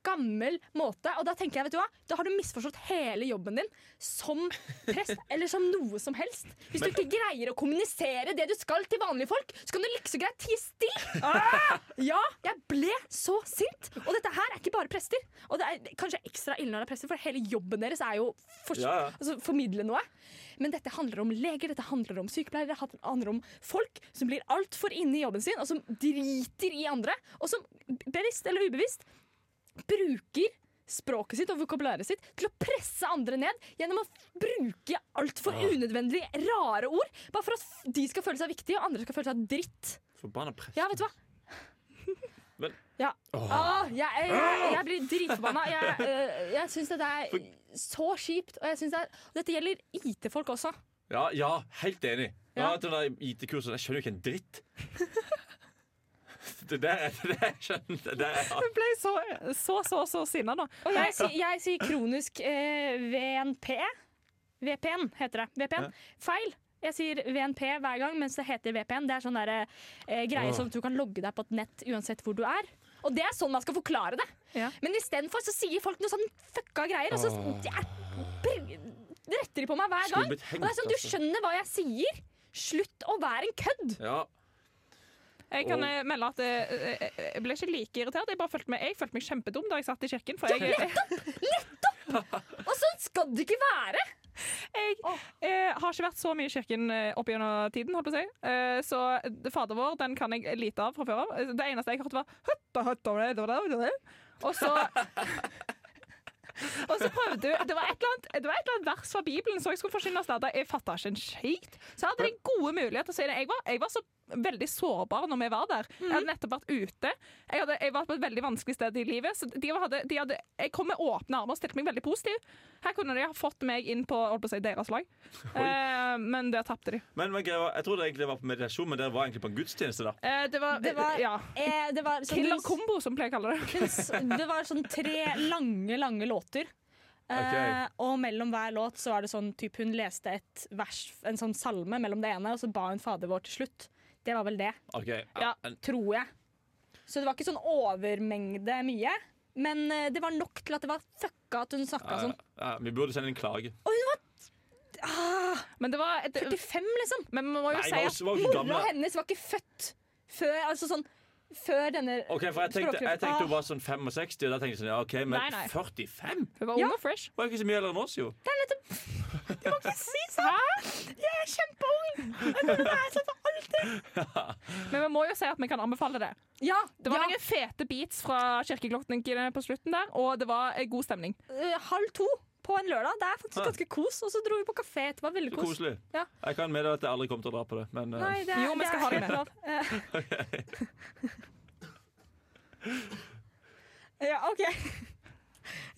Speaker 5: gammel måte. Og da tenker jeg, vet du hva? Da har du misforstått hele jobben din som prest, eller som noe som helst. Hvis du ikke greier å kommunisere det du skal til vanlige folk, så kan du like så greit tie stille. Ah! Ja, jeg ble så sint. Og dette her er ikke bare prester. Og det er kanskje ekstra ille når det er prester, for hele jobben deres er jo for,
Speaker 3: Ja, ja.
Speaker 5: Altså, formidle noe. Men dette handler om leger, dette handler om sykepleiere, det handler om folk som blir altfor inne i jobben sin, og som driter i andre, og som bevisst eller ubevisst bruker språket sitt og vokabulæret sitt til å presse andre ned gjennom å f- bruke altfor unødvendige, rare ord. Bare for at f- de skal føle seg viktige, og andre skal føle seg dritt.
Speaker 3: Forbanna press.
Speaker 5: Ja, vet du hva?
Speaker 3: Vel-
Speaker 5: Ja. Ah, jeg, jeg, jeg, jeg blir dritforbanna. Jeg, eh, jeg syns dette er så kjipt. Og jeg synes det er, og dette gjelder IT-folk også.
Speaker 3: Ja, ja, helt enig. Ja,
Speaker 5: Ja.
Speaker 3: til det der IT-kurset, Jeg skjønner jo ikke en dritt. Det der er det der jeg skjønner det der, er-
Speaker 4: Jeg ble så, så, så, så sinna nå.
Speaker 5: Og jeg, sier- jeg sier kronisk eh, VNP. VPN heter det. VPN. Feil. Jeg sier VNP hver gang, mens det heter VPN. Det er sånn der, eh, greie som du kan logge deg på et nett uansett hvor du er. Og det er sånn man skal forklare det.
Speaker 4: Ja.
Speaker 5: Men istedenfor så sier folk noe sånn fucka greier, og så det er, br- retter de på meg hver
Speaker 3: Skulle
Speaker 5: gang.
Speaker 3: blitt
Speaker 5: Og
Speaker 3: hengt,
Speaker 5: det er sånn, Du
Speaker 3: altså.
Speaker 5: skjønner hva jeg sier! Slutt å være en kødd!
Speaker 3: Ja.
Speaker 4: Jeg kan
Speaker 3: Og-
Speaker 4: eh, melde at eh, eh, jeg ble ikke like irritert. Jeg bare følte meg, jeg følte meg kjempedum da jeg satt i kirken. For jeg, jeg,
Speaker 5: Og sånn skal det ikke være!
Speaker 4: jeg, eh, har ikke vært så mye i kirken eh, opp gjennom tiden, holdt på å si. Eh, så eh, Fader vår den kan jeg lite av fra før av. Eh, Det eneste jeg hørte, var høtta, høtta, høtta, høtta, høtta. Og så Og så prøvde du det var, et eller annet, det var et eller annet vers fra Bibelen som jeg skulle forsyne oss der. Jeg fatta ikke en skit. Så hadde jeg gode muligheter til å si det. Jeg var, jeg var så veldig sårbar når vi var der. Jeg hadde nettopp vært ute. Jeg, hadde, jeg var på et veldig vanskelig sted i livet. Så de hadde, de hadde, jeg kom med åpne armer og stilte meg veldig positiv. Her kunne de ha fått meg inn på, holdt på å si, deres lag. Eh, men der tapte de.
Speaker 3: Men, men greia var- jeg trodde egentlig det var på meditasjon, men dere var egentlig på en gudstjeneste. da
Speaker 4: Eh, det var,
Speaker 5: Det var-
Speaker 4: ja,
Speaker 5: Eh, det var sånn-
Speaker 4: Killer combo, som vi pleier å kalle det.
Speaker 5: Kunst- Det var sånn tre lange, lange låter. Eh, og mellom hver låt så var det sånn typ hun leste et vers, en sånn salme mellom det ene, og så ba hun Fader vår til slutt. Det var vel det,
Speaker 3: Ok,
Speaker 4: Ja.
Speaker 3: en-
Speaker 5: tror jeg. Så det var ikke sånn overmengde mye. Men eh, det var nok til at det var fucka at hun snakka sånn.
Speaker 3: ja, Vi burde sende en klage.
Speaker 4: Men det var et,
Speaker 5: 45, liksom!
Speaker 4: Men vi må jo
Speaker 3: Nei,
Speaker 4: si
Speaker 3: var,
Speaker 4: at
Speaker 3: var hun
Speaker 5: Mora
Speaker 3: gamle?
Speaker 5: hennes var ikke født før, altså sånn, før denne
Speaker 3: Ok, for Jeg tenkte, jeg tenkte hun
Speaker 5: Ah,
Speaker 3: var sånn 65, og da tenkte jeg sånn, ja, ok, men
Speaker 4: Nei, nei.
Speaker 3: 45?
Speaker 4: hun var ung
Speaker 5: Ja.
Speaker 4: og fresh.
Speaker 3: Hun er ikke så mye eldre enn oss, jo.
Speaker 5: Det er nettopp Du må ikke si sånn! Jeg er kjempeung! Jeg kommer til å være sånn for alltid!
Speaker 4: Men vi må jo si at vi kan anbefale det.
Speaker 5: Ja,
Speaker 4: Det var
Speaker 5: ja.
Speaker 4: noen fete beats fra kirkeklokkene på slutten der, og det var eh, god stemning.
Speaker 5: Eh, halv to på en lørdag. Det er faktisk
Speaker 3: Ja.
Speaker 5: ganske kos. Og så dro vi på kafé. Det var veldig
Speaker 3: Så
Speaker 5: kos.
Speaker 3: koselig.
Speaker 5: Ja.
Speaker 3: Jeg kan meddele at jeg aldri kommer til å dra på det. Men eh,
Speaker 5: Nei, det er,
Speaker 4: Jo, vi skal ha det med.
Speaker 5: med. ja, OK.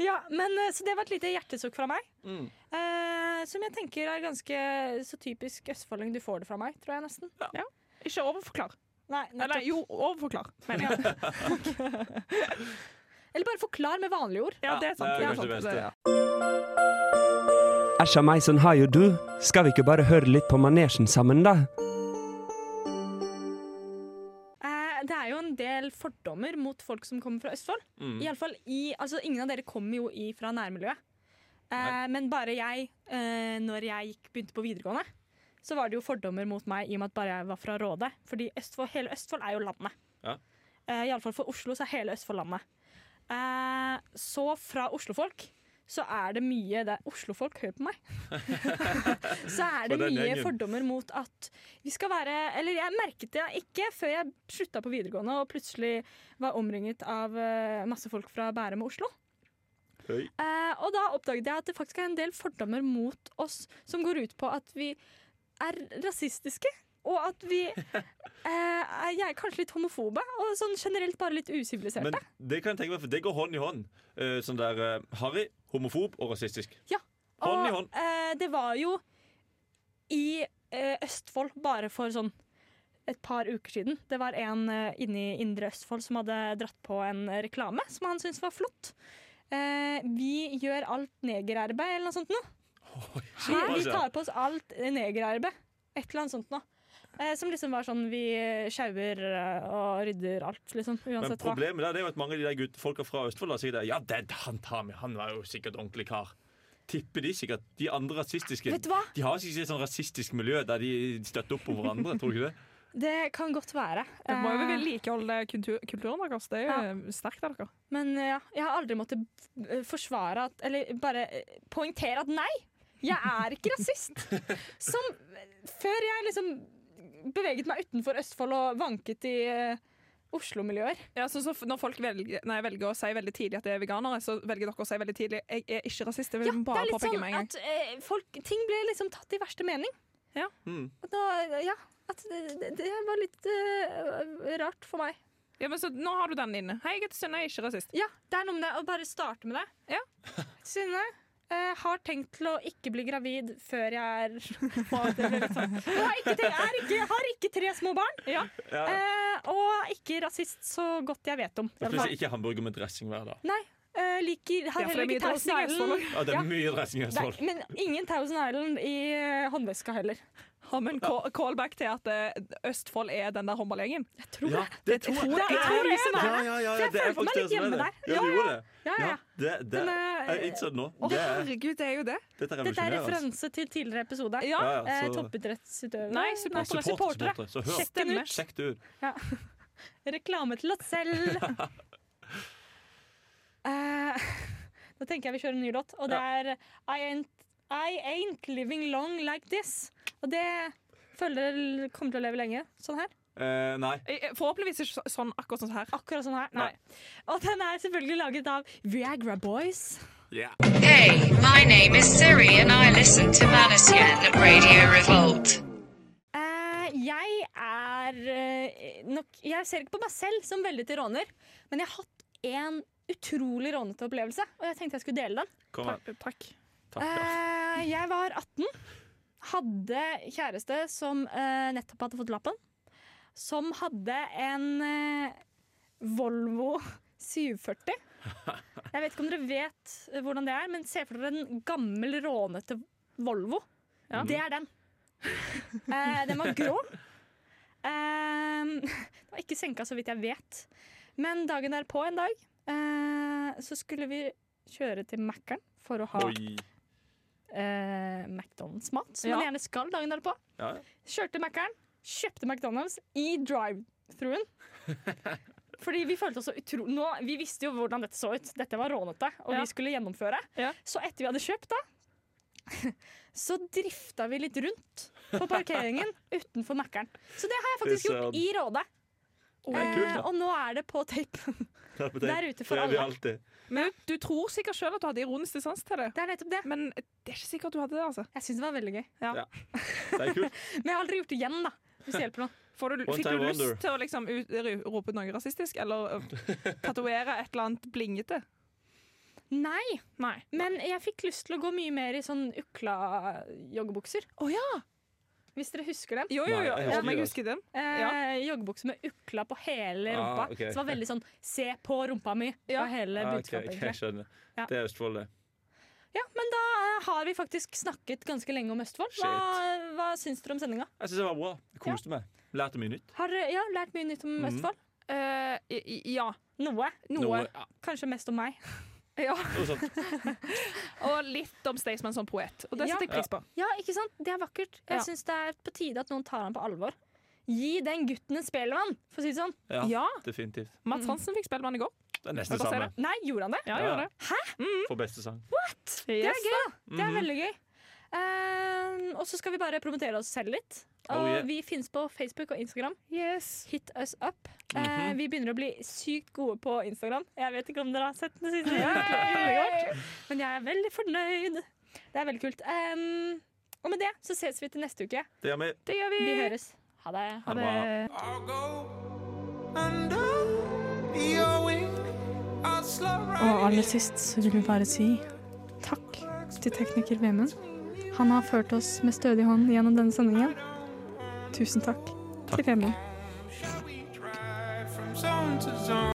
Speaker 5: Ja, men eh, Så det var et lite hjertesukk fra meg.
Speaker 3: Mm.
Speaker 5: Eh, som jeg tenker er ganske så typisk østfolding. Du får det fra meg, tror jeg nesten.
Speaker 4: Ikke overforklar.
Speaker 5: Nei,
Speaker 4: Eller
Speaker 5: nettopp.
Speaker 4: jo, overforklar, mener jeg.
Speaker 5: Eller bare forklar med vanlige ord.
Speaker 4: Ja, det er sant.
Speaker 3: det
Speaker 4: Det
Speaker 3: er
Speaker 4: er
Speaker 3: kanskje
Speaker 4: sant.
Speaker 3: det beste.
Speaker 4: ja.
Speaker 8: Æsja meg, sånn har jo du. Skal vi ikke bare høre litt på manesjen sammen, da?
Speaker 5: Eh, det er jo en del fordommer mot folk som kommer fra Østfold.
Speaker 3: Mm.
Speaker 5: I alle fall i, altså Ingen av dere kommer jo i fra nærmiljøet. Eh, men bare jeg, eh, når jeg gikk, begynte på videregående, så var det jo fordommer mot meg i og med at bare jeg var fra Råde. Fordi Østfold, hele Østfold er jo landet.
Speaker 3: Ja.
Speaker 5: Eh, Iallfall for Oslo så er hele Østfold landet. Eh, så fra oslofolk så er det mye det, Oslofolk, hør på meg! så er det
Speaker 3: For den
Speaker 5: mye
Speaker 3: gjengen.
Speaker 5: fordommer mot at vi skal være Eller jeg merket det ikke før jeg slutta på videregående og plutselig var omringet av eh, masse folk fra Bærum og Oslo.
Speaker 3: Oi.
Speaker 5: Eh, og da oppdaget jeg at det faktisk er en del fordommer mot oss som går ut på at vi er rasistiske. Og at vi eh, er jeg er kanskje litt homofobe, og sånn generelt bare litt usiviliserte.
Speaker 3: Men det kan jeg tenke meg, for det går hånd i hånd. Eh, sånn der eh, harry, homofob og rasistisk. hånd i
Speaker 5: Og,
Speaker 3: hånd.
Speaker 5: eh, det var jo i eh, Østfold bare for sånn et par uker siden. Det var en eh, inne i Indre Østfold som hadde dratt på en eh, reklame som han syntes var flott. Eh, vi gjør alt negerarbeid, eller noe sånt noe. Hæ? Vi
Speaker 3: Altså,
Speaker 5: tar på oss alt negerarbeid. Et eller annet sånt noe. Eh, som liksom var sånn vi sjauer eh, og rydder alt, liksom.
Speaker 3: Men
Speaker 5: Uansett hva.
Speaker 3: problemet der, det er jo at mange av de der gutt, folka fra Østfold da, sier det. Ja, det er han Tami. Han var jo sikkert ordentlig kar. Tipper de sikkert. De andre rasistiske
Speaker 5: Vet du hva?
Speaker 3: De har sikkert et sånn rasistisk miljø der de støtter opp om hverandre. tror du ikke det?
Speaker 5: Det kan godt være.
Speaker 4: Vi må jo
Speaker 5: Eh,
Speaker 4: vedlikeholde kultur, kulturen deres. Det er jo
Speaker 5: Ja.
Speaker 4: eh, sterkt av dere.
Speaker 5: Men eh, ja, jeg har aldri måttet eh, forsvare at Eller bare eh, poengtere at nei, jeg er ikke rasist. Som eh, før jeg liksom beveget meg utenfor Østfold og vanket i eh, Oslo-miljøer.
Speaker 4: Ja, så, så f- når folk velger, nei, velger å si veldig tidlig at de er veganere, så velger dere å si veldig tidlig jeg er ikke rasist. Jeg vil
Speaker 5: Ja, det
Speaker 4: bare
Speaker 5: er litt
Speaker 4: påpeke
Speaker 5: sånn
Speaker 4: med en gang.
Speaker 5: at eh, folk, ting blir liksom tatt i verste mening.
Speaker 4: Ja.
Speaker 3: Mm.
Speaker 5: Og da, eh, ja at det, det- det var litt eh, rart for meg.
Speaker 4: Ja, men så Nå har du den inne. Hei, jeg heter Synne, jeg er ikke rasist.
Speaker 5: Ja, det er noe med det å bare starte med det.
Speaker 4: Ja.
Speaker 5: Synne eh, har tenkt til å ikke bli gravid før jeg er Og det ble litt sånn. Jeg har ikke, tenkt, jeg er ikke, jeg har ikke tre små barn.
Speaker 4: Ja.
Speaker 5: Eh, og ikke rasist så godt jeg vet om.
Speaker 3: Og plutselig ikke hamburger med dressing hver dag.
Speaker 5: Nei, eh, liker,
Speaker 4: Det
Speaker 5: har
Speaker 4: er fordi
Speaker 5: heller
Speaker 4: mye
Speaker 5: ikke Thousand
Speaker 4: dressing i Østfold.
Speaker 5: Island.
Speaker 3: Ja, det er
Speaker 5: Ja.
Speaker 3: mye dressing i Østfold.
Speaker 5: Nei, men ingen Thousand Island i eh, håndveska heller.
Speaker 4: Har vi en ca- callback til at eh, Østfold er den der håndballegjengen?
Speaker 3: Ja, det tror jeg.
Speaker 5: jeg tror det er
Speaker 3: Ja, ja, ja,
Speaker 5: jeg
Speaker 3: det
Speaker 5: følte
Speaker 3: er
Speaker 5: meg
Speaker 3: faktisk
Speaker 5: litt
Speaker 3: det som er
Speaker 5: hjemme
Speaker 3: det.
Speaker 5: der.
Speaker 3: Ja, du
Speaker 5: Ja,
Speaker 3: gjorde det.
Speaker 5: Ja, ja.
Speaker 3: Ja, det, det,
Speaker 5: Men, eh,
Speaker 3: jeg innså det nå.
Speaker 4: Å,
Speaker 3: Det er,
Speaker 4: herregud, det er jo det!
Speaker 3: dette er
Speaker 5: Dette er
Speaker 3: revolusjonerende. altså.
Speaker 5: referanse til tidligere episode.
Speaker 4: Ja.
Speaker 3: Ja, ja,
Speaker 5: Eh,
Speaker 3: så-
Speaker 5: Toppidrettsutøvere.
Speaker 4: Nei, supportere.
Speaker 3: Supporter,
Speaker 4: supportere.
Speaker 3: supporter. Så hør.
Speaker 5: Sjekk den
Speaker 4: Stemmer.
Speaker 5: ut.
Speaker 3: Sjekk det ut.
Speaker 5: Reklame til oss selv. Eh, Da tenker jeg vi kjører en ny låt, og det er I ain't, I ain't living long like this. Og det føler dere kommer til å leve lenge. Sånn her.
Speaker 3: Eh, nei.
Speaker 4: Eh, eh, Forhåpentligvis ikke så- sånn akkurat sånn her.
Speaker 5: Akkurat sånn her. Nei. Og den er selvfølgelig laget av Viagra Boys.
Speaker 3: Ja.
Speaker 7: Hey, my name is Siri and I listen to Manasian Radio Revolt.
Speaker 5: Eh, jeg er eh, nok Jeg ser ikke på meg selv som veldig til råner, men jeg har hatt en utrolig rånete opplevelse, og jeg tenkte jeg skulle dele den.
Speaker 3: Kom her.
Speaker 4: Takk.
Speaker 3: Takk. ja.
Speaker 5: Eh, jeg var 18. Hadde kjæreste som eh, nettopp hadde fått lappen. Som hadde en eh, Volvo 740. Jeg vet ikke om dere vet eh, hvordan det er, men se for dere en gammel, rånete Volvo. Det er den. Eh, den var grå. Eh, den var ikke senka, så vidt jeg vet. Men dagen derpå en dag eh, så skulle vi kjøre til Mækkern for å ha
Speaker 3: Oi.
Speaker 5: eh, McDonald's-mat, som
Speaker 4: Ja.
Speaker 5: man gjerne skal dagen derpå.
Speaker 3: Ja, ja.
Speaker 5: Kjørte Mækkern, kjøpte McDonald's i drive-thruen. Fordi vi følte oss så utro... Nå, vi visste jo hvordan dette så ut. Dette var rånete, og
Speaker 4: Ja.
Speaker 5: vi skulle gjennomføre.
Speaker 4: Ja.
Speaker 5: Så etter vi hadde kjøpt, da, så drifta vi litt rundt på parkeringen utenfor Mækkern. Så det har jeg faktisk
Speaker 3: Det er
Speaker 5: gjort
Speaker 3: så-
Speaker 5: i Råde. Eh,
Speaker 3: er kult, da.
Speaker 5: og nå er det på tape.
Speaker 3: Det er på tape.
Speaker 5: Der ute for
Speaker 3: det er vi
Speaker 5: alle.
Speaker 3: alltid.
Speaker 4: Men du tror sikkert sjøl at du hadde ironisk distans til det,
Speaker 5: Det er nettopp det.
Speaker 4: men det er ikke sikkert du hadde det. altså
Speaker 5: Jeg syns det var veldig gøy.
Speaker 3: Det er kult.
Speaker 5: Men jeg har aldri gjort det igjen, da. Hvis det hjelper noe.
Speaker 4: Får du,
Speaker 3: One
Speaker 4: fikk du
Speaker 3: time
Speaker 4: lyst
Speaker 3: wonder.
Speaker 4: til å liksom ut, ru- rope ut noe rasistisk, eller øh, tatovere et eller annet blingete?
Speaker 5: Nei.
Speaker 4: Nei.
Speaker 5: Men jeg fikk lyst til å gå mye mer i sånn ukla joggebukser.
Speaker 4: Å ja!
Speaker 5: Hvis dere husker dem.
Speaker 4: Jo, jo,
Speaker 3: Nei,
Speaker 4: jo.
Speaker 3: jeg
Speaker 4: Ja,
Speaker 3: husker
Speaker 4: men jeg
Speaker 3: det.
Speaker 4: husker den.
Speaker 5: Eh,
Speaker 4: Ja.
Speaker 5: Joggebukser med ukla på hele
Speaker 3: Ah,
Speaker 5: rumpa.
Speaker 3: ok.
Speaker 5: Så det var veldig sånn 'se på rumpa mi'
Speaker 4: Ja.
Speaker 5: var hele
Speaker 3: Ah, ok,
Speaker 5: budskapet.
Speaker 3: ok, jeg
Speaker 5: egentlig.
Speaker 3: skjønner.
Speaker 5: Ja.
Speaker 3: Det er Østfold, det.
Speaker 5: Ja, Men da eh, har vi faktisk snakket ganske lenge om Østfold. Hva, hva syns dere om sendinga?
Speaker 3: Jeg syns det var bra. Jeg koste meg. Lærte mye nytt.
Speaker 5: Har dere ja, lært mye nytt om
Speaker 3: Mhm.
Speaker 5: Østfold?
Speaker 4: Eh, i- i- ja.
Speaker 5: Noe.
Speaker 3: Noe, ja,
Speaker 5: Kanskje mest om meg.
Speaker 4: ja.
Speaker 3: noe sånt.
Speaker 4: Og litt om Staysman som poet. Og det
Speaker 5: Ja.
Speaker 4: setter jeg pris på.
Speaker 5: Ja, ikke sant? Det er vakkert.
Speaker 4: Ja.
Speaker 5: Jeg syns det er på tide at noen tar han på alvor. Gi den gutten en spellemann, for å si det sånn.
Speaker 3: Ja,
Speaker 4: Ja.
Speaker 3: definitivt.
Speaker 4: Mats Hansen fikk Spellemann i går.
Speaker 3: Det er nesten
Speaker 4: Hva sier
Speaker 3: samme.
Speaker 5: Nei, gjorde han det?
Speaker 4: Ja,
Speaker 3: Ja.
Speaker 4: gjorde det.
Speaker 3: For beste sang.
Speaker 5: Det
Speaker 4: Yes,
Speaker 5: er gøy, da. Det er
Speaker 3: Mhm.
Speaker 5: veldig gøy. Ehm, og så skal vi bare promotere oss selv litt. Og
Speaker 3: Oh, yeah.
Speaker 5: Vi finnes på Facebook og Instagram. Hit us up. Eh,
Speaker 3: Mhm.
Speaker 5: vi begynner å bli sykt gode på Instagram. Jeg vet ikke om dere har sett den siste innlegget vårt, men jeg er veldig fornøyd. Det er veldig kult. Ehm, og med det så ses vi til neste uke.
Speaker 3: Det gjør vi.
Speaker 4: Det gjør vi.
Speaker 5: Vi høres. Ha det.
Speaker 3: Ha det bra.
Speaker 5: Og aller sist så vil vi bare si takk til tekniker Vemund. Han har ført oss med stødig hånd gjennom denne sendingen. Tusen takk, til Vemund.